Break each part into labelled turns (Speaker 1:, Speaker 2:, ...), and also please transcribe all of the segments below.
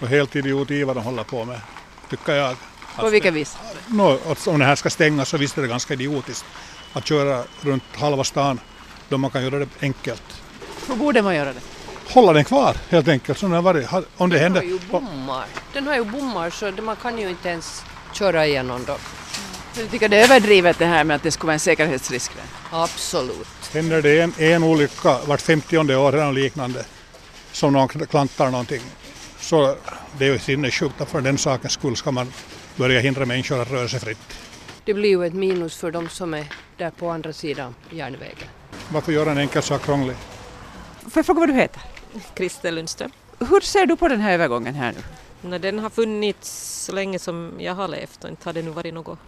Speaker 1: och helt idiot i vad de håller på med, tycker jag.
Speaker 2: På vilket vis?
Speaker 1: Nå, att om det här ska stängas så visst är det ganska idiotiskt att köra runt halva stan då man kan göra det enkelt.
Speaker 2: Hur borde man göra det?
Speaker 1: Hålla den kvar helt enkelt, som den har varit. Ha- Om det
Speaker 3: Den har
Speaker 1: händer.
Speaker 3: ju bommar. Den har ju bommar så det- man kan ju inte ens köra igenom dem.
Speaker 2: Så Du tycker det är överdrivet det här med att det skulle vara en säkerhetsrisk? där?
Speaker 3: Absolut.
Speaker 1: Händer det en, en olycka vart 50 år eller något liknande som någon klantar någonting så det är ju sinnessjukt att för den sakens skull ska man börja hindra människor att röra sig fritt.
Speaker 3: Det blir ju ett minus för de som är där på andra sidan järnvägen.
Speaker 1: Varför göra en enkel sak krånglig?
Speaker 2: Får jag fråga vad du heter?
Speaker 4: Christer Lundström.
Speaker 2: Hur ser du på den här övergången här nu?
Speaker 4: När den har funnits så länge som jag har levt och inte har det nu varit något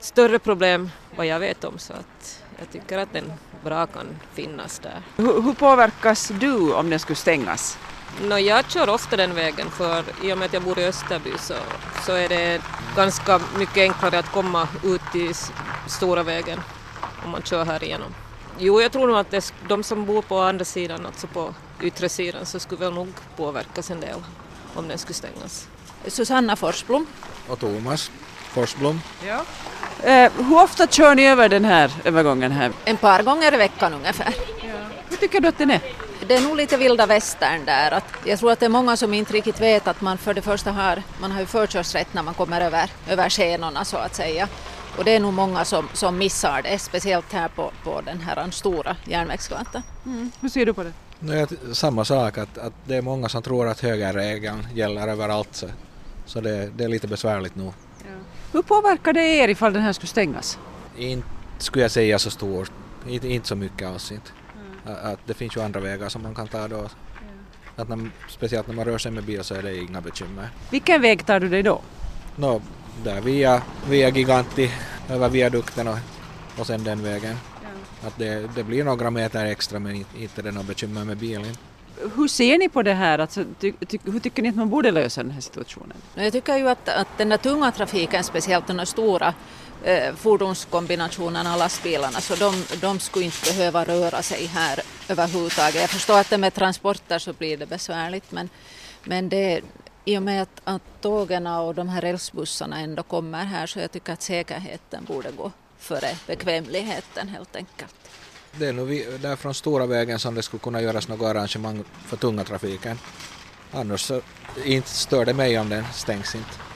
Speaker 4: större problem vad jag vet om så att jag tycker att den bra kan finnas där.
Speaker 2: Hur, hur påverkas du om den skulle stängas?
Speaker 4: Nå, jag kör ofta den vägen för i och med att jag bor i Österby så, så är det ganska mycket enklare att komma ut till s- stora vägen om man kör här igenom. Jo, jag tror nog att det, sk- de som bor på andra sidan, alltså på yttre sidan, så skulle väl nog påverkas en del om den skulle stängas.
Speaker 5: Susanna Forsblom.
Speaker 6: Och Thomas Forsblom.
Speaker 2: Ja. Eh, hur ofta kör ni över den här övergången här?
Speaker 5: En par gånger i veckan ungefär.
Speaker 2: Hur tycker du att den är?
Speaker 5: Det är nog lite vilda västern där. Att jag tror att det är många som inte riktigt vet att man för det första har, man har ju förkörsrätt när man kommer över, över scenorna så att säga. Och det är nog många som, som missar det, speciellt här på, på den här stora järnvägsgatan.
Speaker 2: Hur ser du på det?
Speaker 6: Nu är det samma sak att, att det är många som tror att högerregeln gäller överallt. Så, så det, det är lite besvärligt nu.
Speaker 2: Hur påverkar det er ifall den här skulle stängas?
Speaker 6: Inte skulle jag säga så stort. Inte, inte så mycket alls inte. Att, att det finns ju andra vägar som man kan ta då. Att när, speciellt när man rör sig med bil så är det inga bekymmer.
Speaker 2: Vilken väg tar du dig då?
Speaker 6: Nå, där via, via Giganti, över viadukten och, och sen den vägen. Att det, det blir några meter extra men inte, inte det är något bekymmer med bilen.
Speaker 2: Hur ser ni på det här? Alltså, ty, ty, hur tycker ni att man borde lösa den här situationen?
Speaker 5: Men Jag tycker ju att, att den där tunga trafiken, speciellt de där stora eh, fordonskombinationerna, lastbilarna, så de, de skulle inte behöva röra sig här överhuvudtaget. Jag förstår att det med transporter så blir det besvärligt, men, men det, i och med att, att tågen och de här rälsbussarna ändå kommer här så jag tycker att säkerheten borde gå före bekvämligheten helt enkelt.
Speaker 6: Det är nog vi- där från stora vägen som det skulle kunna göras något arrangemang för tunga trafiken. Annars så inte stör det mig om den stängs inte.